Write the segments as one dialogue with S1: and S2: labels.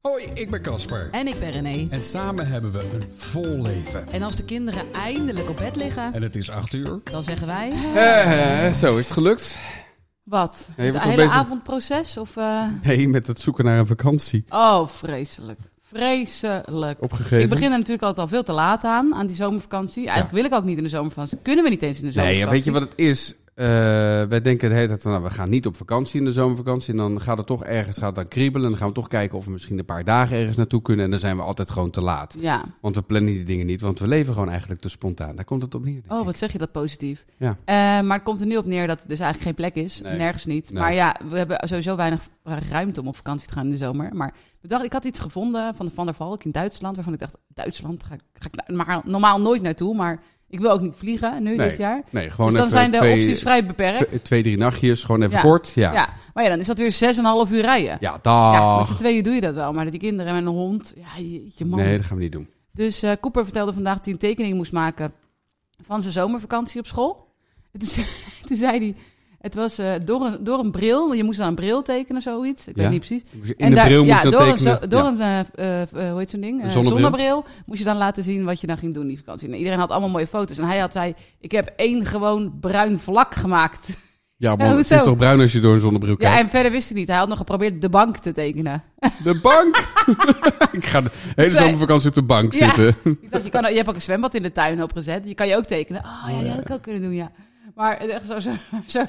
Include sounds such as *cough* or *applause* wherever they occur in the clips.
S1: Hoi, ik ben Casper.
S2: En ik ben René.
S1: En samen hebben we een vol leven.
S2: En als de kinderen eindelijk op bed liggen,
S1: En het is acht uur.
S2: dan zeggen wij...
S3: Eh, zo is het gelukt.
S2: Wat?
S3: je
S2: het
S3: bent
S2: hele
S3: wel bezig.
S2: avondproces? Of, eh,
S3: Nee, met het zoeken naar een vakantie.
S2: Oh, vreselijk. Vreselijk.
S3: Opgegeven.
S2: Ik begin er natuurlijk altijd al veel te laat aan, aan die zomervakantie. Eigenlijk wil ik ook niet in de zomervakantie. Kunnen we niet eens in de zomervakantie.
S3: Nee, weet je wat het is? Eh, wij denken de hele tijd van, nou, we gaan niet op vakantie in de zomervakantie. En dan gaat het toch ergens, gaat het dan kriebelen. En dan gaan we toch kijken of we misschien een paar dagen ergens naartoe kunnen. En dan zijn we altijd gewoon te laat.
S2: Ja.
S3: Want we plannen die dingen niet, want we leven gewoon eigenlijk te spontaan. Daar komt het op neer. denk
S2: Oh,
S3: ik.
S2: wat zeg je dat positief.
S3: Ja.
S2: Eh, maar het komt er nu op neer dat er dus eigenlijk geen plek is.
S3: Nee.
S2: Nergens niet.
S3: Nee.
S2: Maar ja, we hebben sowieso weinig ruimte om op vakantie te gaan in de zomer. Maar ik dacht, ik had iets gevonden van de Van der Valk in Duitsland. Waarvan ik dacht, Duitsland ga ik, ga ik nou- maar normaal nooit naartoe. Maar ik wil ook niet vliegen nu
S3: Nee.
S2: dit jaar.
S3: Nee, gewoon
S2: Dus dan
S3: even
S2: zijn de
S3: twee,
S2: opties vrij beperkt.
S3: twee, twee, drie nachtjes, gewoon even
S2: Ja.
S3: kort. Ja,
S2: ja.
S3: ja.
S2: maar ja, dan is dat weer 6,5 uur rijden. Ja, met
S3: dag.
S2: z'n tweeën doe je dat wel. Maar die kinderen en een hond, ja, jeetje man.
S3: nee, dat gaan we niet doen.
S2: Dus eh Cooper vertelde vandaag dat hij een tekening moest maken van zijn zomervakantie op school. En Toen, *laughs* zei- toen zei hij, het was eh, door, een, door een bril, je moest dan een bril tekenen of zoiets. Ik
S3: Ja.
S2: weet niet precies.
S3: In
S2: En
S3: de
S2: daar-
S3: bril
S2: ja,
S3: moet je dat
S2: door een,
S3: tekenen.
S2: zo- door
S3: Ja.
S2: een eh, eh, eh, hoe heet zo'n ding?
S3: Een
S2: Eh,
S3: zonnebril.
S2: Moest je dan laten zien wat je dan ging doen die vakantie. En iedereen had allemaal mooie foto's. En hij had zei, ik heb één gewoon bruin vlak gemaakt.
S3: Ja, man, het
S2: hoezo?
S3: is toch bruin als je door een zonnebril kijkt?
S2: Ja, en verder wist hij niet. Hij had nog geprobeerd de bank te tekenen.
S3: De
S2: *laughs*
S3: bank! ik ga de hele
S2: Zij-
S3: zomervakantie op de bank
S2: Ja.
S3: zitten.
S2: Ik dacht, je, kan, ook- je hebt ook een zwembad in de tuin opgezet. Je kan je ook tekenen. Oh ja, dat had ik ook kunnen doen, ja. Maar echt zo, *laughs* zo, zo,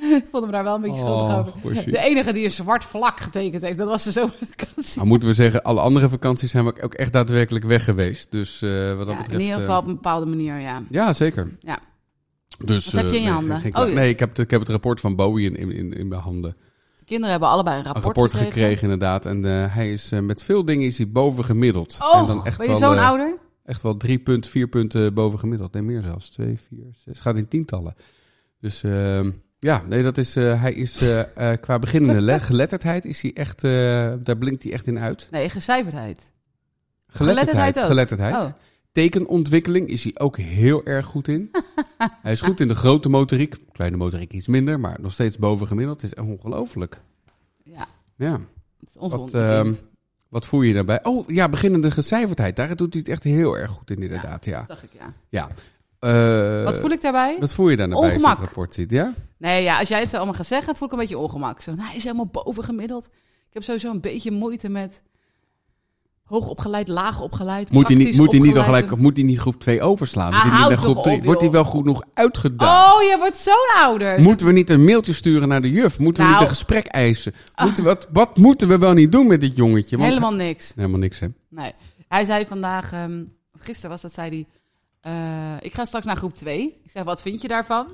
S2: ik vond hem daar wel een beetje schuldig over.
S3: Oh, goeie.
S2: De enige die een zwart vlak getekend heeft, dat was dus de zomervakantie.
S3: Maar moeten we zeggen, alle andere vakanties zijn we ook echt daadwerkelijk weg geweest. Dus eh, wat dat
S2: Ja, in
S3: betreft...
S2: ieder
S3: eh,
S2: geval op een bepaalde manier, ja.
S3: ja, zeker.
S2: Ja.
S3: Dus,
S2: Wat heb
S3: eh,
S2: je in je
S3: nee,
S2: handen?
S3: geen- geen-
S2: Oh, je-
S3: nee, ik heb, het- ik heb het rapport van Bowie in, in, in, in mijn handen.
S2: De kinderen hebben allebei een
S3: Een
S2: rapport,
S3: rapport gekregen, inderdaad. En eh, hij is eh, met veel dingen is hij boven gemiddeld. en
S2: Oh,
S3: dan echt
S2: ben je
S3: wel,
S2: zo'n
S3: eh,
S2: ouder?
S3: Echt wel drie punt, vier punten boven gemiddeld. Nee, meer zelfs. Twee, vier, zes. Gaat in tientallen. Dus ehm, ja, nee, dat is, eh, hij is eh, eh, qua beginnende
S2: *laughs*
S3: le- geletterdheid is hij echt, eh, daar blinkt hij echt in uit.
S2: Nee, gecijferdheid. Geletterdheid
S3: Geletterdheid.
S2: ook?
S3: Geletterdheid.
S2: Oh,
S3: Tekenontwikkeling is hij ook heel erg goed
S2: *laughs*
S3: in. hij is goed in de grote motoriek. Kleine motoriek iets minder, maar nog steeds boven gemiddeld. Het is echt ongelooflijk.
S2: ja.
S3: Ja.
S2: Het is ons
S3: Wat, ehm,
S2: hond, het kind.
S3: Wat voel je daarbij? Oh ja, beginnende gecijferdheid. Daar doet hij het echt heel erg goed in, inderdaad. Ja.
S2: Dat zag ik, ja.
S3: ja. Eh,
S2: Wat voel ik daarbij?
S3: Wat voel je daar nou bij als je het
S2: Ongemak.
S3: rapport ziet? Ja?
S2: Nee, ja, als jij het zo allemaal gaat zeggen, voel ik een beetje ongemak. Zo, nou, hij is helemaal bovengemiddeld. Ik heb sowieso een beetje moeite met hoogopgeleid, laagopgeleid.
S3: Moet, hij niet, moet, hij niet al gelijk,
S2: op?
S3: moet hij niet groep 2 overslaan?
S2: Ah,
S3: moet hij niet
S2: houd
S3: naar
S2: toch
S3: groep
S2: op,
S3: 3? Wordt hij
S2: joh.
S3: wel goed nog uitgedaagd?
S2: Oh, je wordt zo'n ouder.
S3: Moeten we niet een mailtje sturen naar de juf? Moeten we
S2: Nou. Ah.
S3: niet een gesprek eisen? Moeten we- wat, wat moeten we wel niet doen met dit jongetje? Want-
S2: Helemaal
S3: *laughs*
S2: niks.
S3: helemaal niks, hè?
S2: Nee. Hij zei vandaag, ehm, of gisteren was dat, zei hij... eh, ik ga straks naar groep 2. Ik zeg, wat vind je daarvan?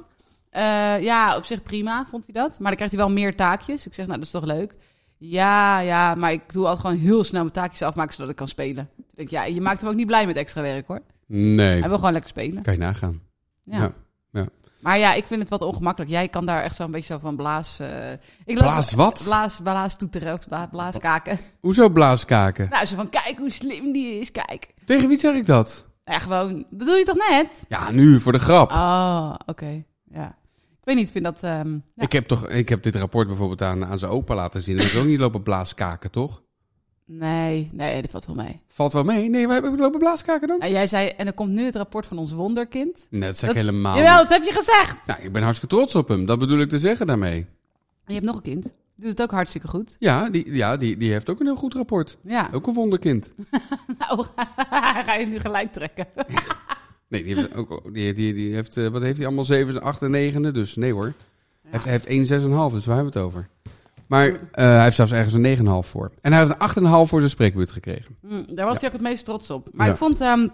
S2: Eh, ja, op zich prima, vond hij dat. Maar dan krijgt hij wel meer taakjes. Ik zeg, nou, dat is toch leuk? Ja, ja, maar ik doe altijd gewoon heel snel mijn taakjes afmaken, zodat ik kan spelen. Ik denk, ja, je maakt hem ook niet blij met extra werk, hoor.
S3: Nee.
S2: Hij wil gewoon lekker spelen.
S3: Kan je nagaan.
S2: Ja.
S3: Ja, ja.
S2: Maar ja, ik vind het wat ongemakkelijk. Jij kan daar echt zo'n beetje zo van blaas... eh, ik las-
S3: Blaas wat?
S2: Blaas, blaas toeteren, of bla- blaaskaken.
S3: Hoezo blaaskaken?
S2: *laughs* Nou, zo van, kijk hoe slim die is, kijk.
S3: Tegen wie zeg ik dat?
S2: Nou Ja, gewoon, dat doe je toch net?
S3: Ja, nu, voor de grap.
S2: Oh, oké. Ja. Ik weet niet, ik vind dat... ehm, ja.
S3: Ik, heb toch, ik heb dit rapport bijvoorbeeld aan, aan zijn opa laten zien. En ik wil ook niet lopen blaaskaken, toch?
S2: Nee, nee, dat valt wel mee.
S3: Valt wel mee? Nee, waar heb ik lopen blaaskaken dan?
S2: Nou, jij zei, en dan komt nu het rapport van ons wonderkind.
S3: Nee, dat zeg ik
S2: Dat-
S3: helemaal
S2: Jawel,
S3: niet.
S2: dat heb je gezegd.
S3: Nou, ik ben hartstikke trots op hem. Dat bedoel ik te zeggen daarmee.
S2: En je hebt nog een kind. Doet het ook hartstikke goed.
S3: Ja, die, ja die, die heeft ook een heel goed rapport.
S2: Ja.
S3: Ook een wonderkind.
S2: *laughs* Nou, *laughs* ga je nu gelijk trekken.
S3: Nee, die heeft, ook, die, die, die heeft eh, wat heeft hij allemaal? 7, 8 en 9. Dus nee hoor. Hij heeft, hij heeft 1, 6,5. Dus waar hebben we het over? Maar eh, hij heeft zelfs ergens een 9,5 voor. En hij heeft een 8,5 voor zijn spreekbuurt gekregen.
S2: Mm, daar was hij ook het meest trots op. Maar
S3: Ja.
S2: ik vond ehm,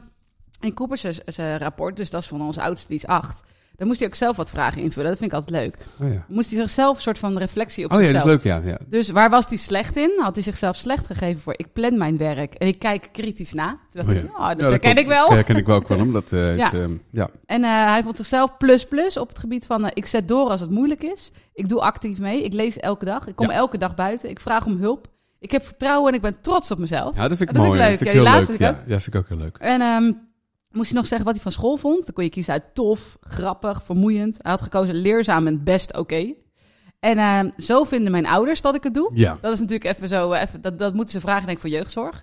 S2: in Coopers eh, z- zijn rapport, dus dat is van onze oudste, die is acht. Dan moest hij ook zelf wat vragen invullen. Dat vind ik altijd leuk.
S3: Oh ja.
S2: Moest hij zichzelf een soort van reflectie op
S3: Oh ja, dat
S2: zichzelf.
S3: is leuk, ja. ja.
S2: Dus waar was hij slecht in? Had hij zichzelf slecht gegeven voor ik plan mijn werk en ik kijk kritisch na. Toen dacht
S3: Oh ja.
S2: ik, oh, dat
S3: Ja,
S2: herken
S3: klopt.
S2: ik wel.
S3: Ja, Dat ken ik wel ook wel, omdat eh,
S2: *laughs* Ja.
S3: is, ehm, ja.
S2: En eh, hij vond zichzelf plus plus op het gebied van eh, ik zet door als het moeilijk is. Ik doe actief mee. Ik lees elke dag. Ik kom
S3: Ja.
S2: elke dag buiten. Ik vraag om hulp. Ik heb vertrouwen en ik ben trots op mezelf.
S3: ja, dat vind ik
S2: Dat vind ik
S3: mooi.
S2: leuk.
S3: Dat vind
S2: Ja,
S3: ik
S2: die
S3: heel
S2: laatste
S3: leuk.
S2: vind ik
S3: Ja, ja, vind ik ook heel leuk.
S2: En ehm, moest hij nog zeggen wat hij van school vond? Dan kon je kiezen uit tof, grappig, vermoeiend. Hij had gekozen leerzaam en best oké. En eh, zo vinden mijn ouders dat ik het doe.
S3: Ja.
S2: Dat is natuurlijk even zo, eh, even, dat, dat moeten ze vragen denk ik voor jeugdzorg.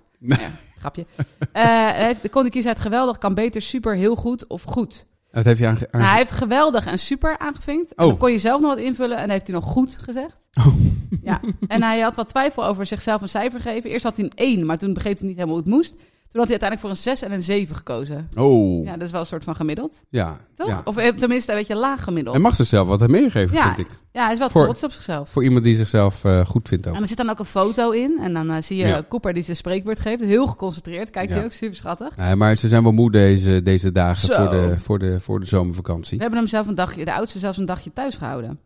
S3: *laughs* Nee.
S2: Ja, grapje. Eh, hij heeft- kon ik kiezen uit geweldig, kan beter, super, heel goed of goed.
S3: Wat heeft hij aange...
S2: Nou, hij heeft geweldig en super aangevinkt. En
S3: Oh.
S2: dan kon je zelf nog wat invullen en dan heeft hij nog goed gezegd.
S3: Oh.
S2: Ja. En hij had wat twijfel over zichzelf een cijfer geven. Eerst had hij een 1, maar toen begreep hij niet helemaal hoe het moest. Toen had hij uiteindelijk voor een 6 en een 7 gekozen.
S3: Oh,
S2: Ja,
S3: ja.
S2: dat is wel een soort van gemiddeld,
S3: ja.
S2: toch? Of eh, tenminste een beetje laag gemiddeld.
S3: Hij mag zichzelf wat meegeven,
S2: Ja.
S3: vind ik.
S2: Ja, hij is wel
S3: Voor-
S2: trots op zichzelf.
S3: Voor iemand die zichzelf eh, goed vindt ook.
S2: En er zit dan ook een foto in. En dan eh, zie je
S3: Ja.
S2: Cooper die zijn spreekwoord geeft. Heel geconcentreerd. Kijkt
S3: Ja.
S2: hij ook super schattig.
S3: Nee, maar ze zijn wel moe deze, deze dagen
S2: Zo.
S3: voor de, voor, de, voor de
S2: We
S3: zomervakantie.
S2: hebben hem zelf een dagje, de oudste zelfs een dagje thuis gehouden.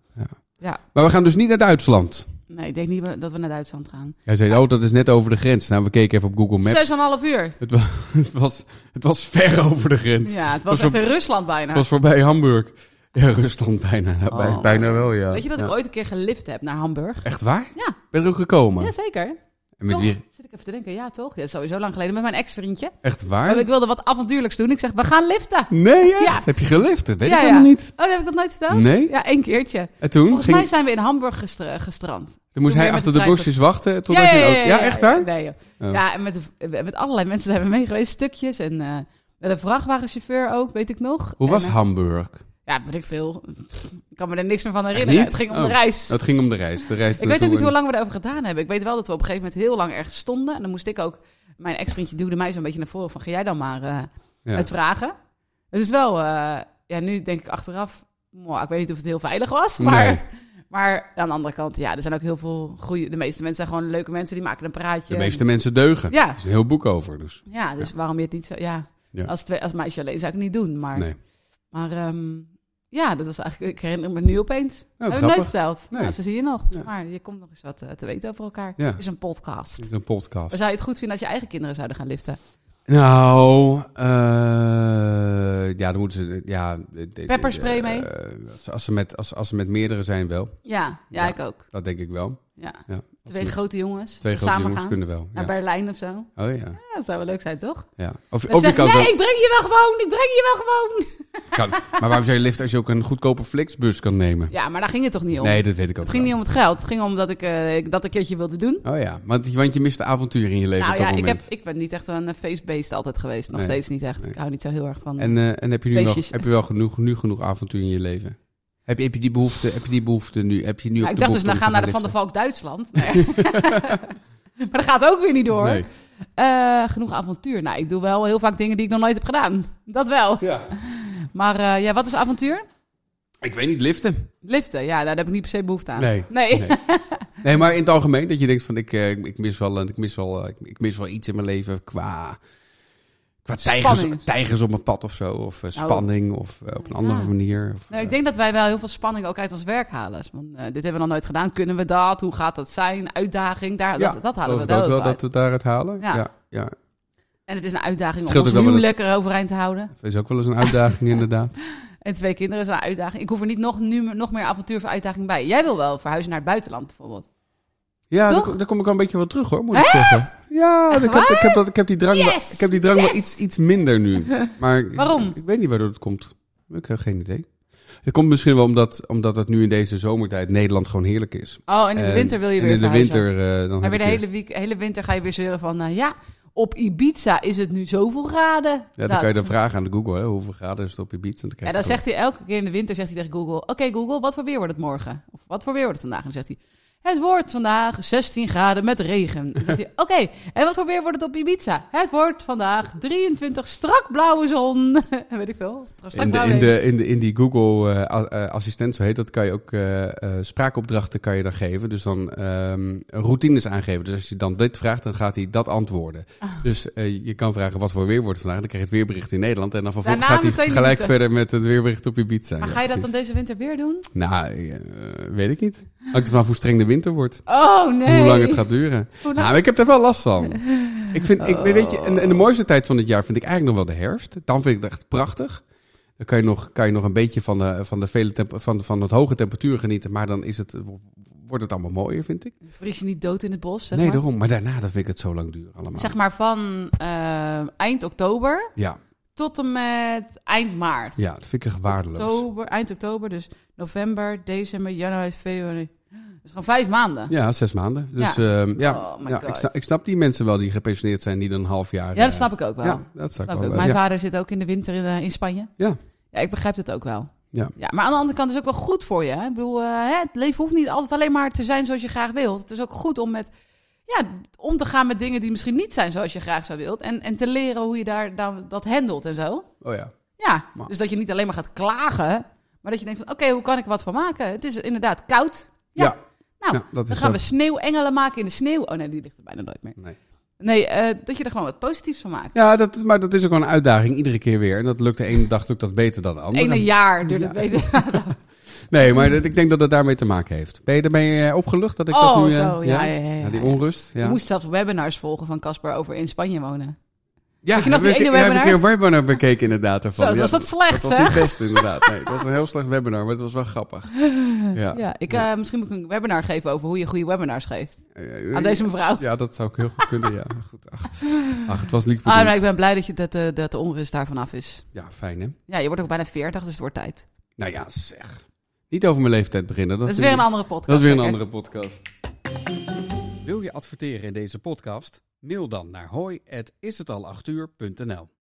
S3: Maar we gaan dus niet naar Duitsland.
S2: Nee, ik denk niet we- dat we naar Duitsland gaan.
S3: Hij zei, oh, dat is net over de grens. Nou, we keken even op Google Maps.
S2: Zes en een half uur.
S3: Het, wa- *laughs* het, was, het was ver *laughs* over de grens.
S2: Ja, het was,
S3: was
S2: echt in Rusland bijna.
S3: Het was voorbij Hamburg. Ja, Rusland bijna. Ja, bij-
S2: Oh.
S3: Bijna wel, ja.
S2: Weet je dat
S3: Ja.
S2: ik ooit een keer gelift heb naar Hamburg?
S3: Echt waar?
S2: Ja.
S3: Ben je er ook gekomen?
S2: Jazeker.
S3: En met
S2: Toch?
S3: wie?
S2: Zit ik even te denken. Ja, toch? Ja, dat is sowieso lang geleden. Met mijn ex-vriendje.
S3: Echt waar?
S2: Maar Ik wilde wat avontuurlijks doen. Ik zeg, we gaan liften.
S3: Nee, echt?
S2: Ja.
S3: Heb je gelift? Dat weet
S2: Ja,
S3: ik
S2: ja.
S3: helemaal niet.
S2: Oh, dat heb ik dat nooit verteld?
S3: Nee?
S2: Ja, één keertje.
S3: En toen,
S2: Volgens
S3: ging,
S2: mij zijn we in Hamburg gestra-
S3: toen
S2: gestrand.
S3: moest
S2: toen
S3: hij
S2: weer met
S3: achter
S2: de
S3: de
S2: trein
S3: bosjes wachten. Totdat je ook- ja, echt waar?
S2: Nee, joh.
S3: Oh.
S2: Ja, en met, de- eh, met allerlei mensen zijn we mee geweest. Stukjes en eh, met een vrachtwagenchauffeur ook, weet ik nog.
S3: Hoe
S2: En,
S3: was
S2: eh,
S3: Hamburg?
S2: Ja, weet ik veel. Pff, Ik kan me er niks meer van herinneren.
S3: niet?
S2: Het ging om
S3: Oh.
S2: de reis.
S3: Het ging om de reis. De reis
S2: ik weet ook
S3: ertoe
S2: niet
S3: en-
S2: hoe lang we erover gedaan hebben. Ik weet wel dat we op een gegeven moment heel lang ergens stonden. En dan moest ik ook... Mijn ex-vriendje duwde mij zo'n beetje naar voren van... Ga jij dan maar eh,
S3: Ja.
S2: het vragen? Het is wel... eh, ja, nu denk ik achteraf... mwah, ik weet niet of het heel veilig was, *laughs* maar...
S3: Nee.
S2: Maar aan de andere kant, ja, er zijn ook heel veel goede... De meeste mensen zijn gewoon leuke mensen, die maken een praatje.
S3: De meeste mensen deugen.
S2: Ja.
S3: Er is een heel boek over, dus.
S2: Ja, dus waarom je het niet zo... Ja,
S3: Ja.
S2: Als, twee, als meisje alleen zou ik het niet doen. Maar,
S3: Nee.
S2: maar ehm, ja, dat was eigenlijk... Ik herinner me nu opeens.
S3: Nou, dat
S2: Heb ik
S3: is
S2: nooit
S3: grappig.
S2: verteld.
S3: Nee.
S2: Nou, zo zie je nog.
S3: Ja.
S2: Maar je komt nog eens wat eh, te weten over elkaar.
S3: Ja.
S2: Het is een podcast.
S3: Het is een podcast.
S2: Maar zou je het goed vinden als je eigen kinderen zouden gaan liften?
S3: Nou, eh, ja, dan moeten ze... Ja, eh, eh,
S2: Pepperspray
S3: eh,
S2: mee?
S3: eh, als, ze met, als, als ze met meerdere zijn wel,
S2: Ja, ja,
S3: Ja.
S2: ik ook.
S3: dat denk ik wel.
S2: Ja.
S3: Ja. Als
S2: Twee
S3: ze met
S2: grote jongens.
S3: twee
S2: ze
S3: grote
S2: samen
S3: jongens
S2: gaan.
S3: kunnen wel.
S2: Naar
S3: Ja.
S2: Berlijn of zo. Ja,
S3: Oh ja.
S2: dat zou wel leuk zijn, toch?
S3: ja. Of,
S2: Dan
S3: of je
S2: zeg je,
S3: kan
S2: nee,
S3: zo...
S2: ik breng je wel gewoon. Ik breng je wel gewoon.
S3: Kan. Maar waarom zou je lift als je ook een goedkope flexbus kan nemen?
S2: Ja, maar daar ging het toch niet om?
S3: Nee, dat weet ik ook
S2: het ging niet om het geld. Het ging om dat ik eh, ik dat een keertje wilde doen.
S3: Oh ja, want, want je mist de avontuur in je leven
S2: nou
S3: op dat
S2: ja, ik, heb,
S3: moment.
S2: ik ben niet echt een eh, feestbeest altijd geweest. Nog
S3: Nee.
S2: steeds niet echt. Ik hou niet zo heel erg van.
S3: En, eh, en heb je nu wel,
S2: Hm. Feestjes.
S3: heb je wel genoeg, nu genoeg avontuur in je leven? Heb je, heb je die behoefte? Heb je die behoefte nu? Heb je nu
S2: Ja,
S3: ook
S2: ik
S3: de
S2: dacht dus,
S3: behoefte om
S2: dan gaan
S3: te
S2: naar de Van der
S3: liften?
S2: Valk
S3: *laughs*
S2: Duitsland. Nee. *laughs* maar dat gaat ook weer niet door.
S3: Nee.
S2: Eh, genoeg avontuur. Nou, ik doe wel heel vaak dingen die ik nog nooit heb gedaan. Dat wel.
S3: Ja.
S2: Maar eh, ja, wat is avontuur?
S3: Ik weet niet, liften.
S2: Liften. Ja, daar heb ik niet per se behoefte aan.
S3: Nee.
S2: *laughs*
S3: Nee. Nee, maar in het algemeen dat je denkt van ik, eh, ik mis wel, eh, ik mis wel, eh, ik, ik mis wel iets in mijn leven qua, qua tijgers,
S2: Spanning.
S3: tijgers op mijn pad of zo. Of eh,
S2: Nou.
S3: spanning of eh, op een andere
S2: Ja.
S3: manier. Of,
S2: Nee,
S3: eh,
S2: Nou, ik denk dat wij wel heel veel spanning ook uit ons werk halen. Want, eh, dit hebben we nog nooit gedaan. Kunnen we dat? Hoe gaat dat zijn? Uitdaging. Daar,
S3: ja,
S2: nou, dat, dat halen we
S3: geloof ik
S2: wel
S3: ook wel
S2: uit.
S3: dat we het daaruit halen.
S2: Ja.
S3: Ja. Ja,
S2: En het is een uitdaging om
S3: Scheelt
S2: ons
S3: ook wel
S2: nu
S3: dat het-
S2: lekker overeind te houden.
S3: Dat is ook wel eens een
S2: *laughs*
S3: uitdaging inderdaad.
S2: En twee kinderen is een uitdaging. Ik hoef er niet nog, nu, nog meer avontuur voor uitdaging bij. Jij wil wel verhuizen naar het buitenland bijvoorbeeld.
S3: Ja, daar,
S2: Toch?
S3: kom- daar kom ik al een beetje wel terug hoor, moet ik zeggen. Ja,
S2: Echt
S3: ik heb, ik, heb dat, ik heb die drang, wel-
S2: Yes!
S3: ik heb die drang wel iets, iets minder
S2: *laughs*
S3: nu. Maar ik-
S2: Waarom?
S3: Ik, weet niet waardoor het komt. Ik heb geen idee. Het komt misschien wel omdat, omdat het nu in deze zomertijd Nederland gewoon heerlijk is.
S2: Oh, en in de
S3: En-
S2: winter wil
S3: Eh,
S2: je
S3: en
S2: weer
S3: in de
S2: verhuizen.
S3: winter eh, dan heb
S2: Maar weer de
S3: ik
S2: hele, week, hele winter ga je weer zeuren van... eh, ja, op Ibiza is het nu zoveel graden.
S3: Ja, dan
S2: Dat.
S3: kan je dan vragen aan de Google, hè, hoeveel graden is het op je beat? En dan, krijg
S2: Ja,
S3: je
S2: dan
S3: gewoon-
S2: zegt hij elke keer in de winter zegt hij tegen Google... Oké Google, wat voor weer wordt het morgen? Of wat voor weer wordt het vandaag? En dan zegt hij... Het wordt vandaag 16 graden met regen. Dan zegt hij, oké, en wat voor weer wordt het op Ibiza? Het wordt vandaag 23 strak blauwe zon. *laughs* Weet ik veel. Strak
S3: in, de,
S2: blauwe
S3: in,
S2: regen.
S3: de, in, de, in die Google eh, a- eh, assistent, zo heet dat, kan je ook eh, eh, spraakopdrachten kan je dan geven. Dus dan ehm, routines aangeven. Dus als je dan dit vraagt, dan gaat hij dat antwoorden.
S2: Ah.
S3: Dus eh, je kan vragen wat voor weer wordt vandaag. Dan krijg je het weerbericht in Nederland. En dan vervolgens
S2: Daarna
S3: gaat hij
S2: meteen
S3: gelijk
S2: Ibiza.
S3: verder met het weerbericht op Ibiza.
S2: Maar
S3: Ja,
S2: ga je dat dan
S3: precies.
S2: deze winter weer doen?
S3: Nou, eh, weet ik niet. Hangt er vanaf hoe streng de winter wordt.
S2: Oh nee.
S3: Hoe lang het gaat duren.
S2: Hoe lang- Oh.
S3: Nou, maar ik heb er wel last
S2: *laughs*
S3: van. Ik vind, ik, weet je, en, en de mooiste tijd van het jaar vind ik eigenlijk nog wel de herfst. Dan vind ik het echt prachtig. Dan kan je nog, kan je nog een beetje van, de, van, de vele temp- van, van het hoge temperatuur genieten. Maar dan is het, wordt het allemaal mooier, vind ik.
S2: Vries je niet dood in het bos? Zeg
S3: nee,
S2: maar.
S3: daarom. Maar daarna dan vind ik het zo lang duren allemaal.
S2: Zeg maar van eh, eind oktober
S3: Ja,
S2: tot en met eind maart.
S3: ja, dat vind ik echt waardeloos.
S2: Oktober, eind oktober, dus november, december, januari, februari. Dus gewoon vijf maanden. Ja,
S3: Ja, zes maanden. Dus ehm, ja,
S2: Oh my
S3: ja
S2: God.
S3: ik, sta- ik snap die mensen wel die gepensioneerd zijn, die dan een half jaar... eh,
S2: dat snap ik ook wel.
S3: Ja, dat snap ik
S2: Snap
S3: wel.
S2: ik.
S3: wel,
S2: Mijn
S3: ja.
S2: vader zit ook in de winter in, eh, in Spanje.
S3: Ja.
S2: Ja, ik begrijp het ook wel.
S3: Ja.
S2: maar aan de andere kant is het ook wel goed voor je. Hè? Ik bedoel, eh, hè, het leven hoeft niet altijd alleen maar te zijn zoals je graag wilt. Het is ook goed om, met, ja, om te gaan met dingen die misschien niet zijn zoals je graag zou wilt. En, en te leren hoe je daar dan, dat handelt en zo.
S3: Oh ja.
S2: Ja,
S3: Maar-
S2: dus dat je niet alleen maar gaat klagen. Maar dat je denkt van, oké, hoe kan ik er wat van maken? Het is inderdaad koud.
S3: Ja.
S2: Ja.
S3: Ja,
S2: Nou,
S3: dat
S2: Dan
S3: is
S2: gaan
S3: zo.
S2: we sneeuwengelen maken in de sneeuw. Oh nee, die ligt er bijna nooit meer.
S3: Nee.
S2: Nee, eh, dat je er gewoon wat positiefs van maakt.
S3: Ja, dat, maar dat is ook wel een uitdaging iedere keer weer. En dat lukt de ene dag ook dat beter dan de
S2: Het
S3: andere.
S2: ene jaar duurt het
S3: Ja.
S2: beter. *laughs*
S3: Nee, maar dat- ik denk dat het daarmee te maken heeft. Ben je daarmee eh, opgelucht dat ik dat
S2: Oh,
S3: nu... eh,
S2: zo, ja, ja, ja, ja,
S3: die
S2: ja.
S3: onrust. Ja,
S2: Je moest zelfs webinars volgen van Casper over in Spanje wonen.
S3: ja
S2: Heb je nog
S3: heb
S2: die
S3: ik-
S2: ene
S3: ja, heb ik
S2: webinar?
S3: een webinar bekeken inderdaad daarvan.
S2: Zo,
S3: Ja,
S2: was dat slecht,
S3: Dat was niet
S2: zeg?
S3: best inderdaad. Nee, het was een heel slecht webinar, maar het was wel
S2: *laughs*
S3: grappig. Ja.
S2: Ja, ik, eh, misschien moet ik een webinar geven over hoe je goede webinars geeft.
S3: Eh,
S2: Aan deze mevrouw.
S3: Ja, dat zou ik heel goed kunnen,
S2: *laughs*
S3: ja. Maar Goed, ach, ach, het was lief
S2: Ah,
S3: bedoeld.
S2: maar ik ben blij dat, je, dat, eh, dat de onrust daarvan af is.
S3: Ja, fijn hè?
S2: Ja, je wordt ook bijna 40, dus het wordt tijd. Dat,
S3: Nou ja, zeg. Niet over mijn leeftijd beginnen. Dat,
S2: is weer een andere podcast.
S3: dat is weer een
S2: zeker?
S3: andere podcast. Wil je adverteren in deze podcast? Mail dan naar hoi@ishetal8uur.nl